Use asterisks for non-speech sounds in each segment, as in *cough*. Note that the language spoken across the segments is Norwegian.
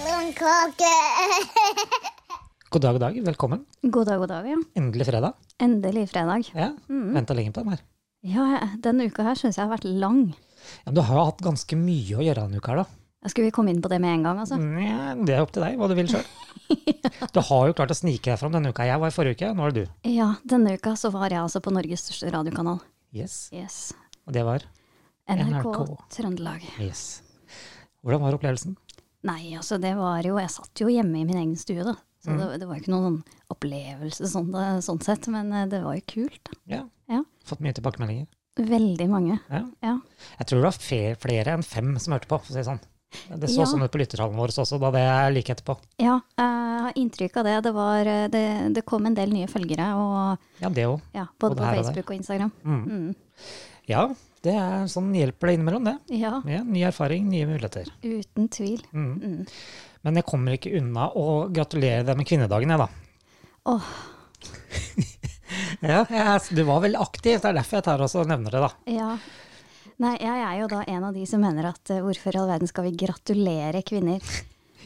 pepperkake. God dag, god dag. Velkommen. God dag, god dag. ja. Endelig fredag. Endelig fredag. Ja, Mm. Venta lenge på den her. Ja, denne uka her syns jeg har vært lang. Ja, men du har jo hatt ganske mye å gjøre denne uka her, da. Skulle vi komme inn på det med en gang, altså? Nja, det er opp til deg hva du vil *laughs* sjøl. Du har jo klart å snike deg fram denne uka. Jeg var i forrige uke, nå er det du. Ja, denne uka så var jeg altså på Norges største radiokanal. Yes. Yes. Og det var NRK, NRK. Trøndelag. Yes. Hvordan var opplevelsen? Nei, altså det var jo Jeg satt jo hjemme i min egen stue, da. Mm. Så det, det var jo ikke noen sånn opplevelse sånn, det- sånn sett, men eh, det var jo kult. da. Ja. Ja. Fått mye tilbakemeldinger? Veldig mange. Ja. Ja. Jeg tror det var fe- flere enn fem som hørte på, for å si det sånn. Det så Ja. sånn ut på lyttertallene våre også, da det er like etterpå. ja jeg har inntrykk av det. Det, var, eh, det. det kom en del nye følgere, og, Ja, det òg. ja, Både både på her og der. Facebook og Instagram. Mm. Mm. Ja, det er sånn hjelper det innimellom, det. Ja, Ja, ny erfaring, nye muligheter. uten tvil. Mm. Mm. Men jeg kommer ikke unna å gratulere deg med kvinnedagen, jeg, da. Åh. ja, jeg, du var veldig aktiv, det er derfor jeg tar også og nevner det, da. Ja. Nei, jeg er jo da en av de som mener at eh, hvorfor i all verden skal vi gratulere kvinner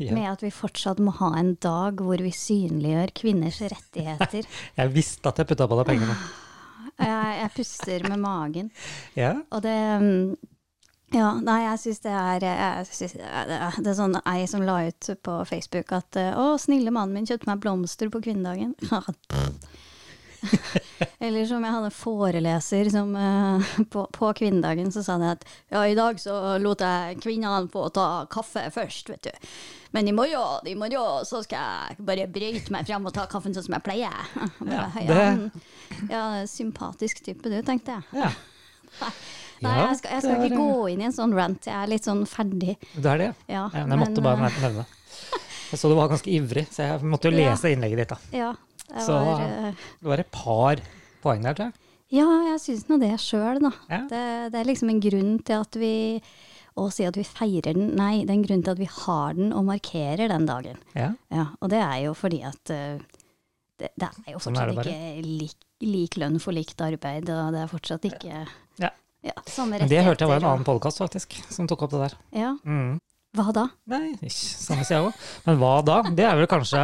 med at vi fortsatt må ha en dag hvor vi synliggjør kvinners rettigheter. Jeg visste at jeg putta på deg *laughs* pengene. Jeg, jeg puster med magen. Ja. Og det mm, Ja, nei, jeg syns det er jeg synes det er, det er sånn ei som la ut på Facebook at eh, Å, snille mannen min kjøpte meg blomster på kvinnedagen. *laughs* Eller som jeg hadde en foreleser som eh, på, på kvinnedagen så sa han at Ja, i dag så lot jeg kvinnene få ta kaffe først, vet du. Men i morgen, i morgen så skal jeg bare bryte meg frem og ta kaffen sånn som jeg pleier. *laughs* Ja, Bare, det- ja, men- ja, sympatisk type du, tenkte jeg. ja. Nei, Ja, jeg skal, jeg skal det er- ikke gå inn i en sånn rant. Jeg er litt sånn ferdig. Det er det. Ja, eh, Ja, men jeg måtte bare nevne det. Jeg så du var ganske ivrig, så jeg måtte jo Ja. lese innlegget ditt. da. eh, Ja, jeg Så- var, eh, Det var et par poeng der, tror jeg. ja, jeg syns nå det sjøl, da. Ja. Det, det er liksom en grunn til at vi Å si at vi feirer den, nei, det er en grunn til at vi har den og markerer den dagen. Ja. Ja, og det er jo fordi at eh, det, det er jo Sånn er det fortsatt bare. ikke lik, lik lønn for likt arbeid, og det er fortsatt ikke Ja. ja, samme Men rettigheter. det hørte jeg var en og- annen podkast faktisk, som tok opp det der. Ja, Mm. hva da? Nei, ikke samme sier jeg òg. Men hva da? Det er vel kanskje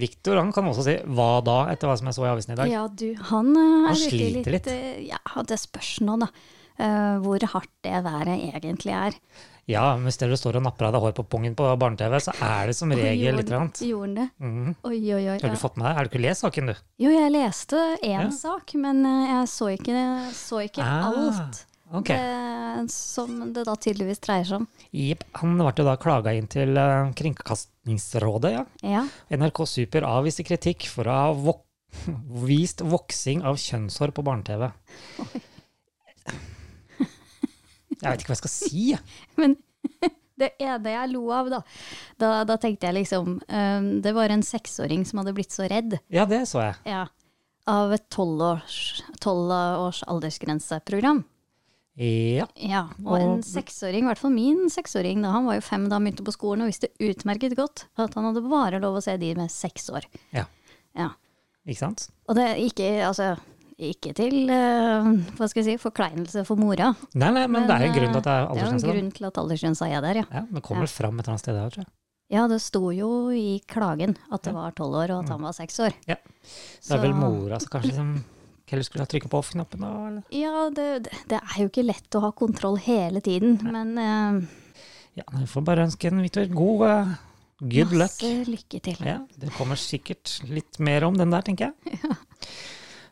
Viktor han kan også si 'hva da', etter hva som jeg så i avisen i dag. Ja, du, han, Han eh, er virkelig sliter litt. eh, Ja, det spørs nå, da. eh, hvor hardt det været egentlig er. Ja, men hvis dere står og napper av deg hår på pungen på barne-TV, så er det som regel litt Gjorde- annet. Gjorde han det? Mm. Oi, oi, oi. Har du Ja. fått med deg? Har du ikke lest saken, du? Jo, jeg leste Ja. én sak, men eh, jeg så ikke, så ikke Ah, alt Ok. det, som det da tydeligvis dreier seg om. Jepp. Han ble jo da klaga inn til eh, Kringkastingsrådet, ja. Ja. NRK Super avviste kritikk for å ha vok *laughs* vist voksing av kjønnshår på barne-TV. Jeg vet ikke hva jeg skal si. jeg. Men *laughs* det ene jeg lo av, da, da, da tenkte jeg liksom eh, Det var en seksåring som hadde blitt så redd. Ja, det så jeg. Ja. Av et tolvårs års aldersgrenseprogram. Ja. Ja, og en Og- seksåring, i hvert fall min seksåring, da han var jo fem da han begynte på skolen, og visste utmerket godt at han hadde bare lov å se de med seks år. Ja. Ja. Ikke sant? Og det er ikke, altså, ikke til eh, hva skal jeg si, forkleinelse for mora. Nei, nei, men, det er jo en grunn til at det er eh, det er jo en aldersgrense. da. grunn til at aldersgrensa er der, ja. Ja, det kommer vel fram et eller annet sted der, tror jeg. Ja, det sto jo i klagen at det var tolv år, og at han var seks år. Mm. Ja. Det er vel Så- mora som kanskje som heller skulle ha trykket på off-knappen da, eller? Ja, det, det- det er jo ikke lett å ha kontroll hele tiden, men eh, Ja, nei, vi får bare ønske en, Victor, god eh, good luck. masse lykke til. Ja, det kommer sikkert litt mer om den der, tenker jeg.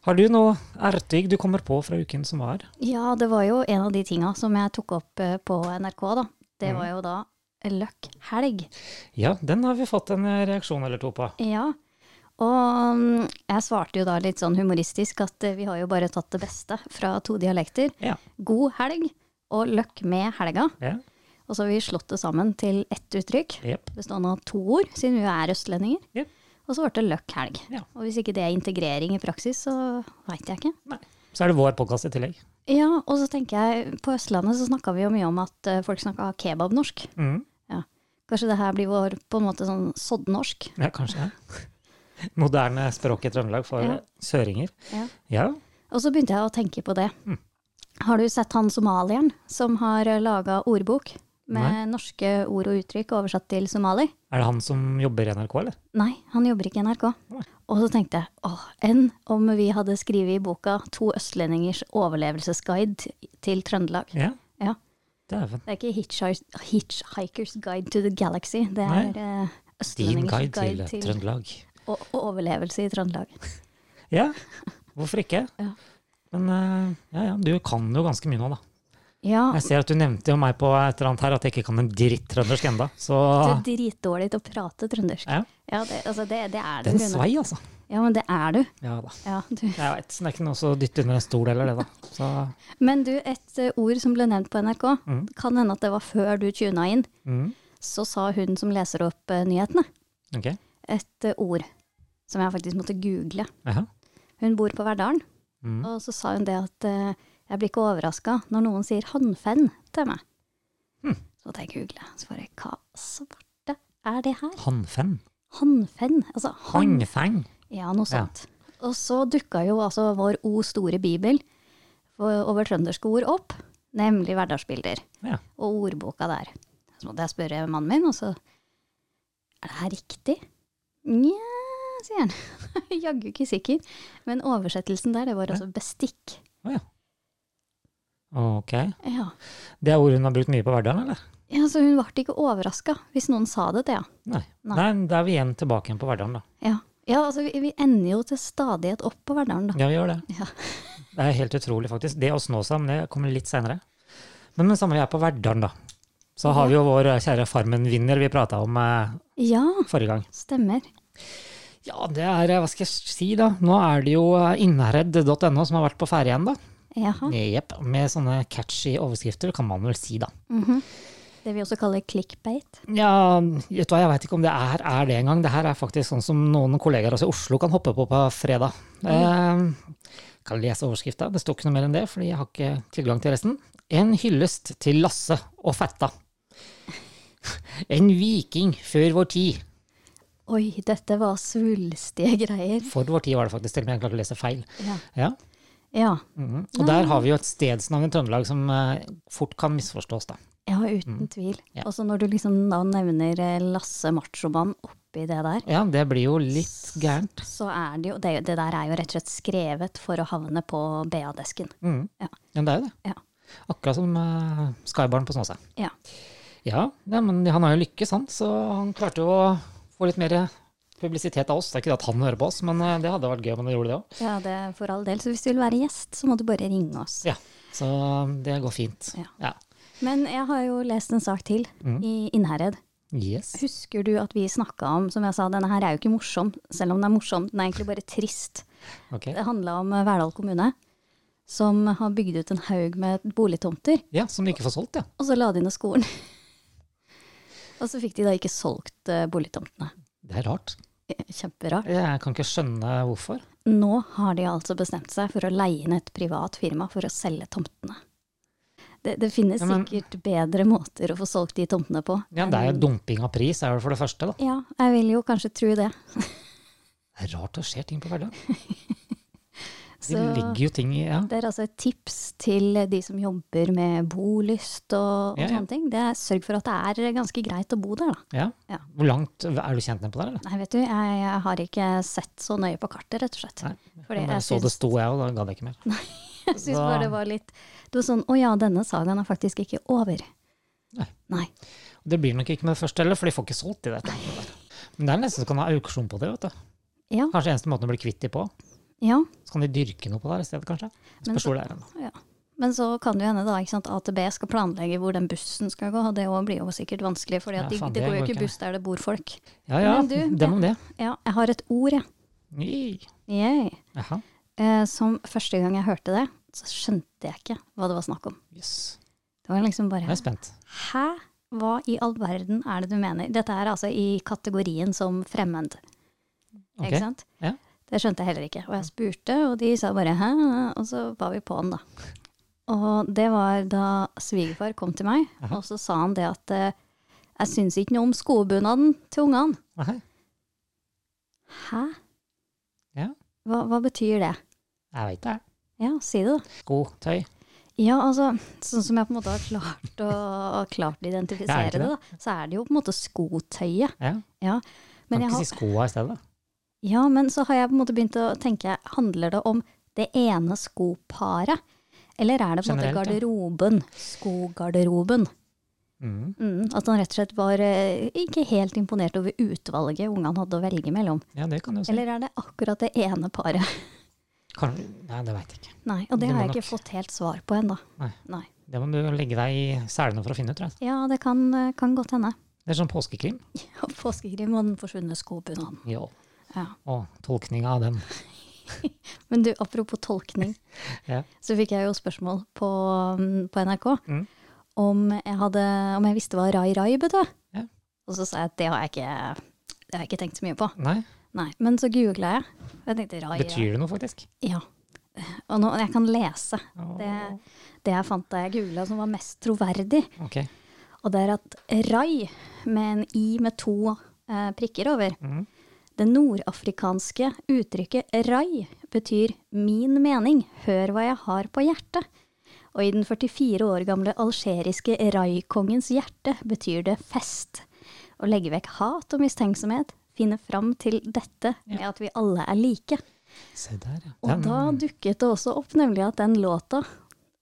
Har du noe ertig du kommer på fra uken som var? Ja, det var jo en av de tinga som jeg tok opp eh, på NRK, da. Det var jo da Løkk helg. Ja, den har vi fått en eh, reaksjon eller to på. Ja. Og mm, jeg svarte jo da litt sånn humoristisk at eh, vi har jo bare tatt det beste fra to dialekter. Ja. God helg og løkk med helga. Ja, Og så har vi slått det sammen til ett uttrykk, jep. bestående av to ord, siden vi jo er østlendinger. Jep. Og så ble det løkk helg. Ja. Og hvis ikke det er integrering i praksis, så veit jeg ikke. Nei. Så er det vår podkast i tillegg. Ja, og så tenker jeg, på Østlandet så snakka vi jo mye om at eh, folk snakka kebabnorsk. Mm. Kanskje det her blir vår på en måte sånn soddnorsk. Ja, kanskje *laughs* det. Moderne språk i Trøndelag for Ja. søringer. Ja. Ja. Og så Mm. begynte jeg å tenke på det. Har du sett han somalieren som har laga eh, ordbok med norske ord og uttrykk oversatt til somali. Er det han som jobber i NRK, eller? Nei, han jobber ikke i NRK. Nei. Og så tenkte jeg åh, enn om vi hadde skrevet i boka 'To østlendingers overlevelsesguide til Trøndelag'. Ja. Ja. Dæven. Det er ikke hitchhi- 'Hitchhiker's guide to the galaxy', det Nei. er eh, Din østlendingers guide til guide til Trøndelag. o- overlevelse i Trøndelag. *laughs* Ja, hvorfor ikke? *laughs* Ja. Men eh, ja, ja, du kan jo ganske mye nå, da. Ja, Jeg ser at du nevnte jo meg på et eller annet her at jeg ikke kan en dritt trøndersk enda. Så du er dritdårlig til å prate trøndersk. Ah. Ja. det, altså det, det er du, den Rune. svei, altså. Ja, men det er du. Ja da. Ja, du. Jeg veit. Det er ikke noe å dytte under en stol heller, det, da. Så Men du, et eh, ord som ble nevnt på NRK, Mm. kan hende at det var før du tuna inn, mm, så sa hun som leser opp eh, nyhetene, ok. et eh, ord som jeg faktisk måtte google. Jaha. Hun bor på Verdalen, Mm. og så sa hun det at eh, jeg blir ikke overraska når noen sier hannfenn til meg. Mm. Så måtte jeg google, så bare hva svarte er det her? Hannfenn. Hannfenn? Altså hann... Hannfeng. Ja, noe sånt. Og så dukka jo altså vår O store bibel for- over trønderske ord opp, nemlig hverdagsbilder. Ja. Og ordboka der. Så måtte jeg spørre mannen min, og så Er det her riktig? Nja, sier han. *laughs* Jaggu ikke sikker. Men oversettelsen der, det var altså bestikk. Ok. Ja. Det er ord hun har brukt mye på hverdagen, eller? ja, Så hun ble ikke overraska hvis noen sa det til henne. Nei. Nei. Nei, Da er vi igjen tilbake igjen på hverdagen, da. Ja. ja, altså vi, vi ender jo til stadighet opp på Verdalen, da. Ja, vi gjør det. Ja. Det er helt utrolig, faktisk. Det å snå seg, men det kommer litt seinere. Men med samme vi er på Verdalen, da, så har vi jo vår kjære Farmen-vinner vi prata om eh, Ja, forrige gang. stemmer. Ja, det er eh, Hva skal jeg si, da? Nå er det jo eh, innherred.no som har vært på ferie igjen, da. Jaha. Jepp. Med sånne catchy overskrifter, kan man vel si, da. Mhm. Det vi også kaller clickbait. Ja, vet du hva, jeg veit ikke om det er, er det engang. Det her er faktisk sånn som noen kollegaer også i Oslo kan hoppe på på fredag. Eh, kan lese overskrifta. Det står ikke noe mer enn det, fordi jeg har ikke tilgang til resten. En hyllest til Lasse og Fetta. *laughs* En viking før vår tid. Oi, dette var svulstige greier. For vår tid var det faktisk, til og med jeg klarte å lese feil. Ja. Ja. Ja, mhm. Og der har vi jo et stedsnavn i Trøndelag som eh, fort kan misforstås, da. ja uten tvil. Mm. Ja. Og så når du liksom da nevner eh, Lasse Machomann oppi det der, Ja, det blir jo litt gærent. så er det jo Det, det der er jo rett og slett skrevet for å havne på BA-desken. Mm. Ja. Ja. men det er jo det. Ja. Akkurat som uh, Skybarn på Snåsa. Ja. Ja, ja, men han har jo lykkes, han. Så han klarte jo å få litt mer publisitet av oss. Det er ikke det at han hører på oss, men eh, det hadde vært gøy om han gjorde det òg. Ja, det er for all del. Så hvis du vil være gjest, så må du bare ringe oss. Ja, så det går fint. Ja. Ja. Men jeg har jo lest en sak til Mm. i Innherred. Yes. Husker du at vi snakka om, som jeg sa, denne her er jo ikke morsom, selv om den er morsom. Den er egentlig bare trist. Ok. Det handla om eh, Verdal kommune, som har bygd ut en haug med boligtomter, Ja, som de ikke får solgt, ja. og så la de ned skolen. *laughs* og så fikk de da ikke solgt eh, boligtomtene. Det er rart. Eh, Kjemperart. Jeg kan ikke skjønne hvorfor. Nå har de altså bestemt seg for å leie inn et privat firma for å selge tomtene. Det, det finnes Ja, men- sikkert bedre måter å få solgt de tomtene på. Ja, Det er enn- jo dumping av pris, er det for det første. da. Ja, jeg vil jo kanskje tro det. Det er rart det skjer ting på hverdagen. Det Så ligger jo ting i ja. det er altså et tips til de som jobber med bolyst og, og Ja, ja. sånne ting. Det er, sørg for at det er ganske greit å bo der, da. ja. Ja. Hvor langt er du kjent med på det? eller? Nei, vet du, jeg, jeg har ikke sett så nøye på kartet, rett og slett. Nei, Fordi Men da jeg så det syns, sto jeg, og da gadd jeg ikke mer. *laughs* jeg syns da- bare det var litt Det var sånn Å ja, denne sagaen er faktisk ikke over. Nei. Nei. Det blir nok ikke med det første heller, for de får ikke solgt de der. tingene der. Men det er nesten så kan de ha auksjon på det. vet du. Ja. Kanskje eneste måten å bli kvitt de på. ja. Så kan de dyrke noe på det her i stedet, kanskje. Men Spørs hvor det er. hen, da. ja. Men så kan det jo hende da, ikke sant, AtB skal planlegge hvor den bussen skal gå, og det også blir jo sikkert vanskelig, for Ja, det, faen, det det går jo går ikke ikke. buss der det bor folk. Ja ja, Men du, dem om det. Ja, jeg har et ord, jeg. Ny. Yay. Jaha. Eh, som første gang jeg hørte det, så skjønte jeg ikke hva det var snakk om. Jøss. Det var liksom bare Nå er jeg spent. Hæ? Hva i all verden er det du mener? Dette er altså i kategorien som fremmed. Ok. Ikke sant? Ja. Det skjønte jeg heller ikke. Og jeg spurte, og de sa bare hæ, og så var vi på den, da. Og det var da svigerfar kom til meg, Aha. og så sa han det at eh, jeg syns ikke noe om skobunaden til ungene. Nei, Hæ? Ja. Hva, hva betyr det? jeg veit det. Ja, si det, da. Sko, tøy. Ja, altså, sånn som jeg på en måte har klart å, klart å identifisere Det er det, ikke da, så er det jo på en måte skotøyet. Ja. Ja. Kan Men, ikke jeg har, si skoa i stedet. ja, men så har jeg på en måte begynt å tenke, handler det om det ene skoparet? Eller er det på en måte Generelt, ja. garderoben? Skogarderoben. Mm. Mm, at han rett og slett var eh, ikke helt imponert over utvalget ungene hadde å velge mellom. Ja, det kan du si. Eller er det akkurat det ene paret? *laughs* Kan, nei, det veit jeg ikke. Nei, og det, Det må har jeg ikke nok- fått helt svar på ennå. Nei. Det må du legge deg i selene for å finne ut, tror jeg. Ja, det kan, eh, kan godt hende. *laughs* Det er sånn påskekrim. Ja, Påskekrim og den forsvunne skobunaden. Ja. Ja. Og tolkninga av den. Men du, apropos tolkning, *laughs* Ja. så fikk jeg jo spørsmål på, mm, på NRK Mm. om, jeg hadde, om jeg visste hva Rai Rai betød. Ja. Og så sa jeg at det har jeg ikke, det har jeg ikke tenkt så mye på. Nei, Nei, Men så googla jeg, og jeg tenkte Rai Rai. betyr det noe, faktisk? Ja. Og nå, jeg kan lese Åh, det, det jeg fant da jeg googla som var mest troverdig. Ok. Og det er at Rai, med en i med to eh, prikker over, Mhm. det nordafrikanske uttrykket rai betyr min mening, hør hva jeg har på hjertet. Og i den 44 år gamle algeriske rai-kongens hjerte betyr det fest. Å legge vekk hat og mistenksomhet, finne fram til dette med at vi alle er like. Se der, ja. Og Den, da dukket det også opp nemlig at den låta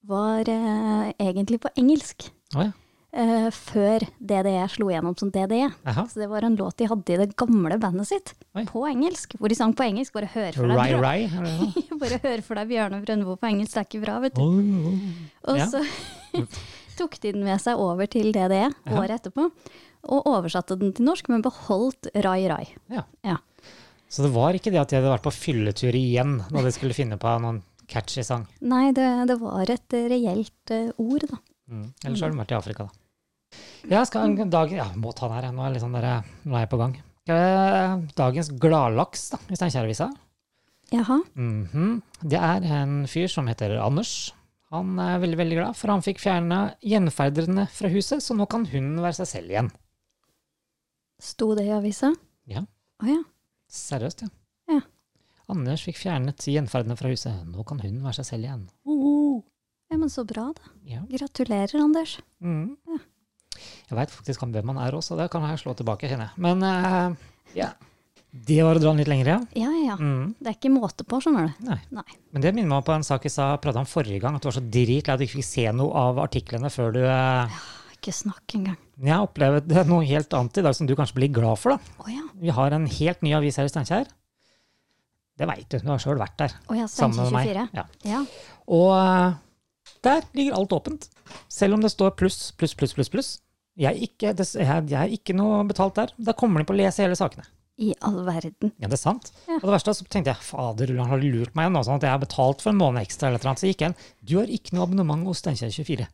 var eh, egentlig på engelsk. Å ja. Eh, før DDE slo gjennom som DDE. Jaha. Så Altså, det var en låt de hadde i det gamle bandet sitt, Oi. på engelsk. Hvor de sang på engelsk. Bare hør for deg, Rai Bjør- Rai? er det det? *laughs* bare hør for deg Bjørne Brøndbo på engelsk, det er ikke bra, vet du. Åh, åh. *laughs* Og ja. så tok de den med seg over til DDE året etterpå, og oversatte den til norsk, men beholdt Rai Rai. Ja. Ja. Så det var ikke det at de hadde vært på fylletur igjen da de skulle finne på noen catchy sang. Nei, det, det var et eh, reelt eh, ord, da. Mm. Ellers har de vært i Afrika, da. Jeg skal en dag, ja, må ta den her. jeg. Nå er, jeg litt sånn der, nå er jeg på gang. Eh, Dagens gladlaks da, i Steinkjer-avisa. Jaha. Mhm. Det er en fyr som heter Anders. Han er veldig veldig glad, for han fikk fjerna gjenferderne fra huset, så nå kan hunden være seg selv igjen. Sto det i avisa? Ja. Å ja. Seriøst, ja. Ja. Anders fikk fjernet gjenferdene fra huset. Nå kan hunden være seg selv igjen. ja. Men så bra, da. Ja. Gratulerer, Anders. Mhm. Jeg veit faktisk han- hvem han er også, det kan jeg slå tilbake, kjenner jeg. Men eh, ja. Det var å dra den litt lenger, ja. Ja, ja, ja. Mhm. Det er ikke måte på, skjønner du. Nei. Nei. Men det minner meg på en sak vi sa, prata om forrige gang, at du var så dritlei at du ikke fikk se noe av artiklene før du eh, Ikke snakk engang. Jeg har opplevd *laughs* noe helt annet i dag som du kanskje blir glad for. da. Å ja. Vi har en helt ny avis her i Steinkjer. Det veit du, du har sjøl vært der. Å ja, Sammen med meg. 24. Ja. Ja. Og eh, der ligger alt åpent. Selv om det står pluss, pluss, pluss, pluss. pluss. Jeg er ikke, det, jeg, jeg er ikke noe betalt der. Da kommer de på å lese hele sakene. I all verden. Ja, det er sant. Ja. Og det verste er så tenkte jeg fader, han har lurt meg nå, sånn at jeg har betalt for en måned ekstra. eller et eller annet. Så gikk jeg inn. Du har ikke noe abonnement hos Steinkjer 24.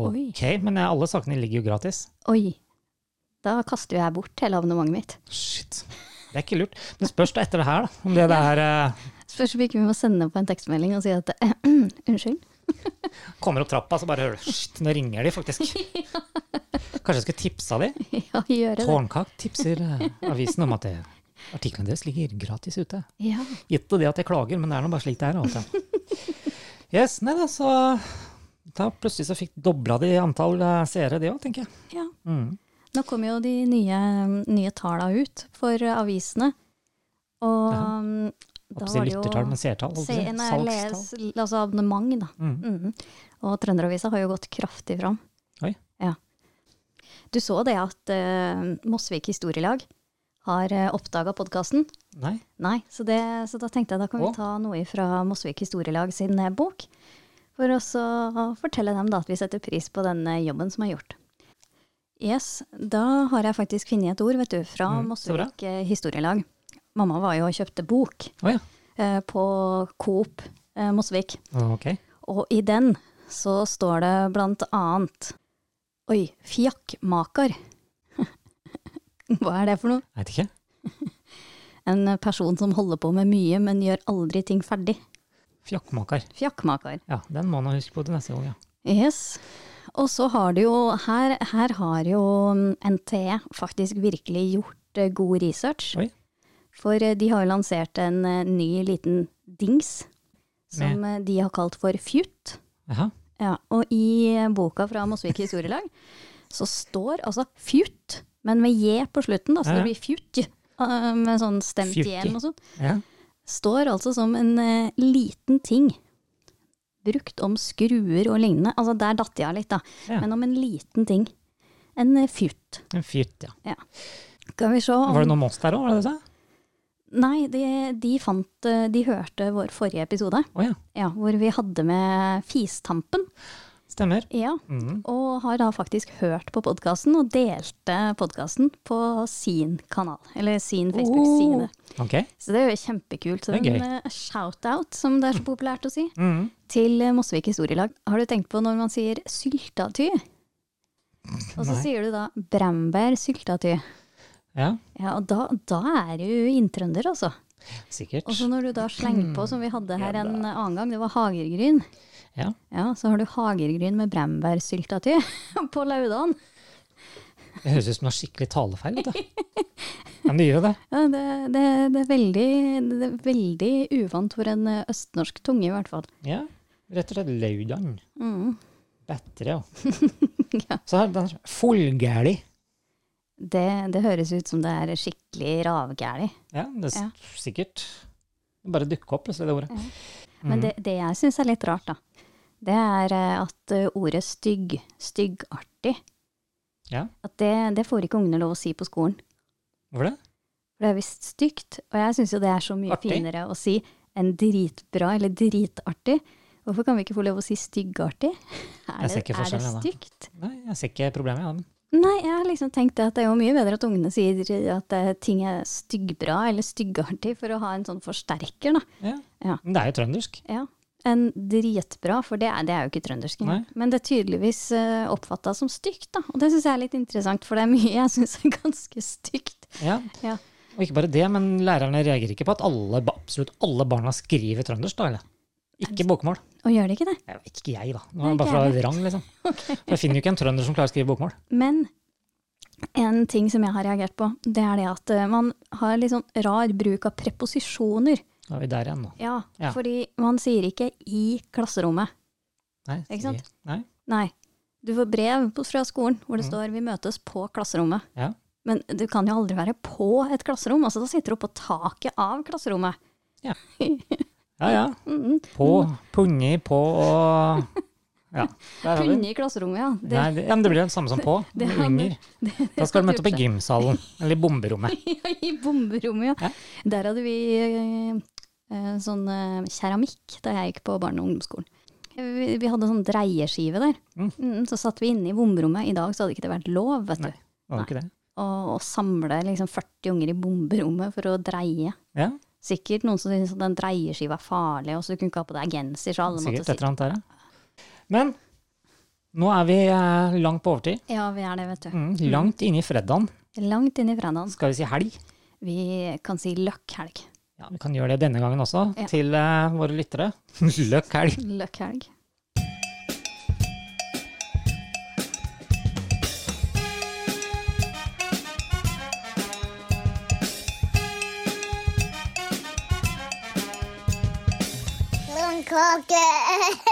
Oi. Ok, men eh, alle sakene ligger jo gratis. Oi. Da kaster jo jeg bort hele abonnementet mitt. Shit. Det er ikke lurt. Men spørs da etter det her, da. Om *laughs* det der eh, Spørs om ikke vi må sende på en tekstmelding og si at *clears throat* unnskyld. *laughs* kommer opp trappa, så bare hører du Shit, nå ringer de *laughs* faktisk. Kanskje jeg skulle tipsa de? Ja, gjøre det. Tårnkak tipser eh, avisen om at det, artiklene deres ligger gratis ute. Ja. Gitt det at jeg klager, men det er nå bare slik det er. Altså. Yes, nei da, så da plutselig så fikk dobla de antall eh, seere, de òg, tenker jeg. ja. Mm. Nå kommer jo de nye, nye tala ut for avisene. Og Jaha. um, Holdt da på å si var det jo lyttertall, men seertall. holdt på å si. Se- nei, Salgstall. les, altså abonnement, da. Mm. Mhm. Og Trønderavisa har jo gått kraftig fram. Oi. Ja. Du så det at eh, Mosvik historielag har uh, oppdaga podkasten? Nei, Nei, så, det, så da tenkte jeg da kan Å. vi ta noe fra Mosvik historielag sin eh, bok. For også å fortelle dem da at vi setter pris på den eh, jobben som er gjort. Yes, da har jeg faktisk funnet et ord, vet du, fra Mm, så bra. Mosvik eh, historielag. Mamma var jo og kjøpte bok å ja. eh, på Coop eh, Mosvik. Ok. Og i den så står det blant annet Oi, fjakkmaker. *laughs* Hva er det for noe? Veit ikke. En person som holder på med mye, men gjør aldri ting ferdig. Fjakkmaker. Fjakkmaker. Ja, den må man huske på til neste gang, ja. Yes. Og så har det jo her, her har jo mm, NTE E faktisk virkelig gjort eh, god research. Oi. For eh, de har jo lansert en eh, ny liten dings som eh, de har kalt for Fjutt. Jaha. Ja, og i boka fra Mosvik historielag så står altså fjutt, men med j på slutten, da, så Ja, ja. det blir fjutt, eh, med sånn stemt j Fjutti. eller noe sånt, Ja. står altså som en eh, liten ting brukt om skruer og lignende. Altså der datt jeg av litt, da. Ja. Men om en liten ting. En eh, fjutt. En fyrt, ja. Skal vi se om Var det noe monster òg, var det det du sa? Nei, de, de fant eh, De hørte vår forrige episode, Å ja. ja, hvor vi hadde med fistampen. Stemmer. Ja, Mhm. Og har da faktisk hørt på podkasten og delte podkasten på sin kanal. Eller sin Facebook-side. Ok. Så det er jo kjempekult. Så Oh. Det er det er gøy. en eh, shout-out, som det er så populært å si, Mhm. til eh, Mosvik historielag. Har du tenkt på når man sier syltaty? Og så Nei. sier du da brembær syltaty. Ja, Ja, og da, da er du inntrønder, altså. sikkert. Og så når du da slenger på, som vi hadde her Ja da. en annen gang, det var hagergryn. Ja. Ja, så har du hagergryn med brembærsyltetøy *laughs* på laudan. Det høres ut som du har skikkelig talefeil. vet du. *laughs* Ja, men det gjør jo det. Ja, det, det, det, er veldig, det er veldig uvant for en eh, østnorsk tunge, i hvert fall. Ja, rett og slett laudan. Mm. Bedre, ja. *laughs* Så her, den er fullgæli. Det, det høres ut som det er skikkelig ravgæli. Ja, det er Ja. s- sikkert. Det bare dukker opp plutselig, det ordet. Men Mm. det, det jeg syns er litt rart, da, det er eh, at eh, ordet stygg, styggartig, Ja, at det, det får ikke ungene lov å si på skolen. hvorfor det? For det er visst stygt, og jeg syns jo det er så mye Artig. finere å si enn dritbra eller dritartig. Hvorfor kan vi ikke få lov å si styggartig? *laughs* Er Jeg ser ikke det, er det forskjellen, jeg, stygt? Nei, jeg ser ikke problemet. Ja, men. Nei, jeg har liksom tenkt det at det er jo mye bedre at ungene sier at eh, ting er styggbra eller styggartig, for å ha en sånn forsterker, da. Ja. Ja. Men det er jo trøndersk. Ja. Enn dritbra, for det er, det er jo ikke trøndersk. Nei. engang. Men det er tydeligvis uh, oppfatta som stygt, da. Og det syns jeg er litt interessant, for det er mye jeg syns er *laughs* ganske stygt. Ja. Ja. Og ikke bare det, men lærerne reagerer ikke på at alle, ba- absolutt alle barna skriver trøndersk, da, eller? Ikke bokmål. Og gjør det ikke det? Jeg vet ikke jeg, da. Nå er jeg Nei, bare fra ikke jeg rang, *laughs* liksom. For jeg finner jo ikke en trønder som klarer å skrive bokmål. Men en ting som jeg har reagert på, det er det at eh, man har litt sånn rar bruk av preposisjoner. Da er vi der igjen nå. Ja, Ja. Fordi man sier ikke 'i klasserommet'. Nei, Ikke sant? sier- Nei. Nei. Du får brev på- fra skolen hvor det står 'vi møtes på klasserommet'. Mm. Ja. Men du kan jo aldri være på et klasserom. altså Da sitter du på taket av klasserommet. Ja, ja. Mm, På, punni, på *laughs* og Ja. Der har vi den. Punne i klasserommet, ja. Det, Nei, det, ja, men det blir jo det samme som på. *laughs* det har Under. Da skal du møte opp i gymsalen, eller i bomberommet. *laughs* ja, I bomberommet, ja. Ja. Der hadde vi eh, eh, sånn eh, keramikk da jeg gikk på barne- og ungdomsskolen. Vi, vi hadde sånn dreieskive der. Mm. Mm, så satt vi inne i bomberommet. I dag så hadde ikke det vært lov, vet Nei. du. Var det ikke det? Å, å samle liksom 40 unger i bomberommet for å dreie. Ja, Sikkert noen som syntes at den dreieskiva er farlig, og så du kunne ikke ha på deg genser, så alle sikkert et måtte eller annet der, ja. Men nå er vi eh, langt på overtid. si Ja, vi er det, vet du. Mm, langt inne i fredagen. Langt inn i fredagen. Skal vi si helg? Vi kan si løkkhelg. Ja, Vi kan gjøre det denne gangen også, Ja. til eh, våre lyttere. *laughs* Løkk helg. Løkkhelg. Blomkake.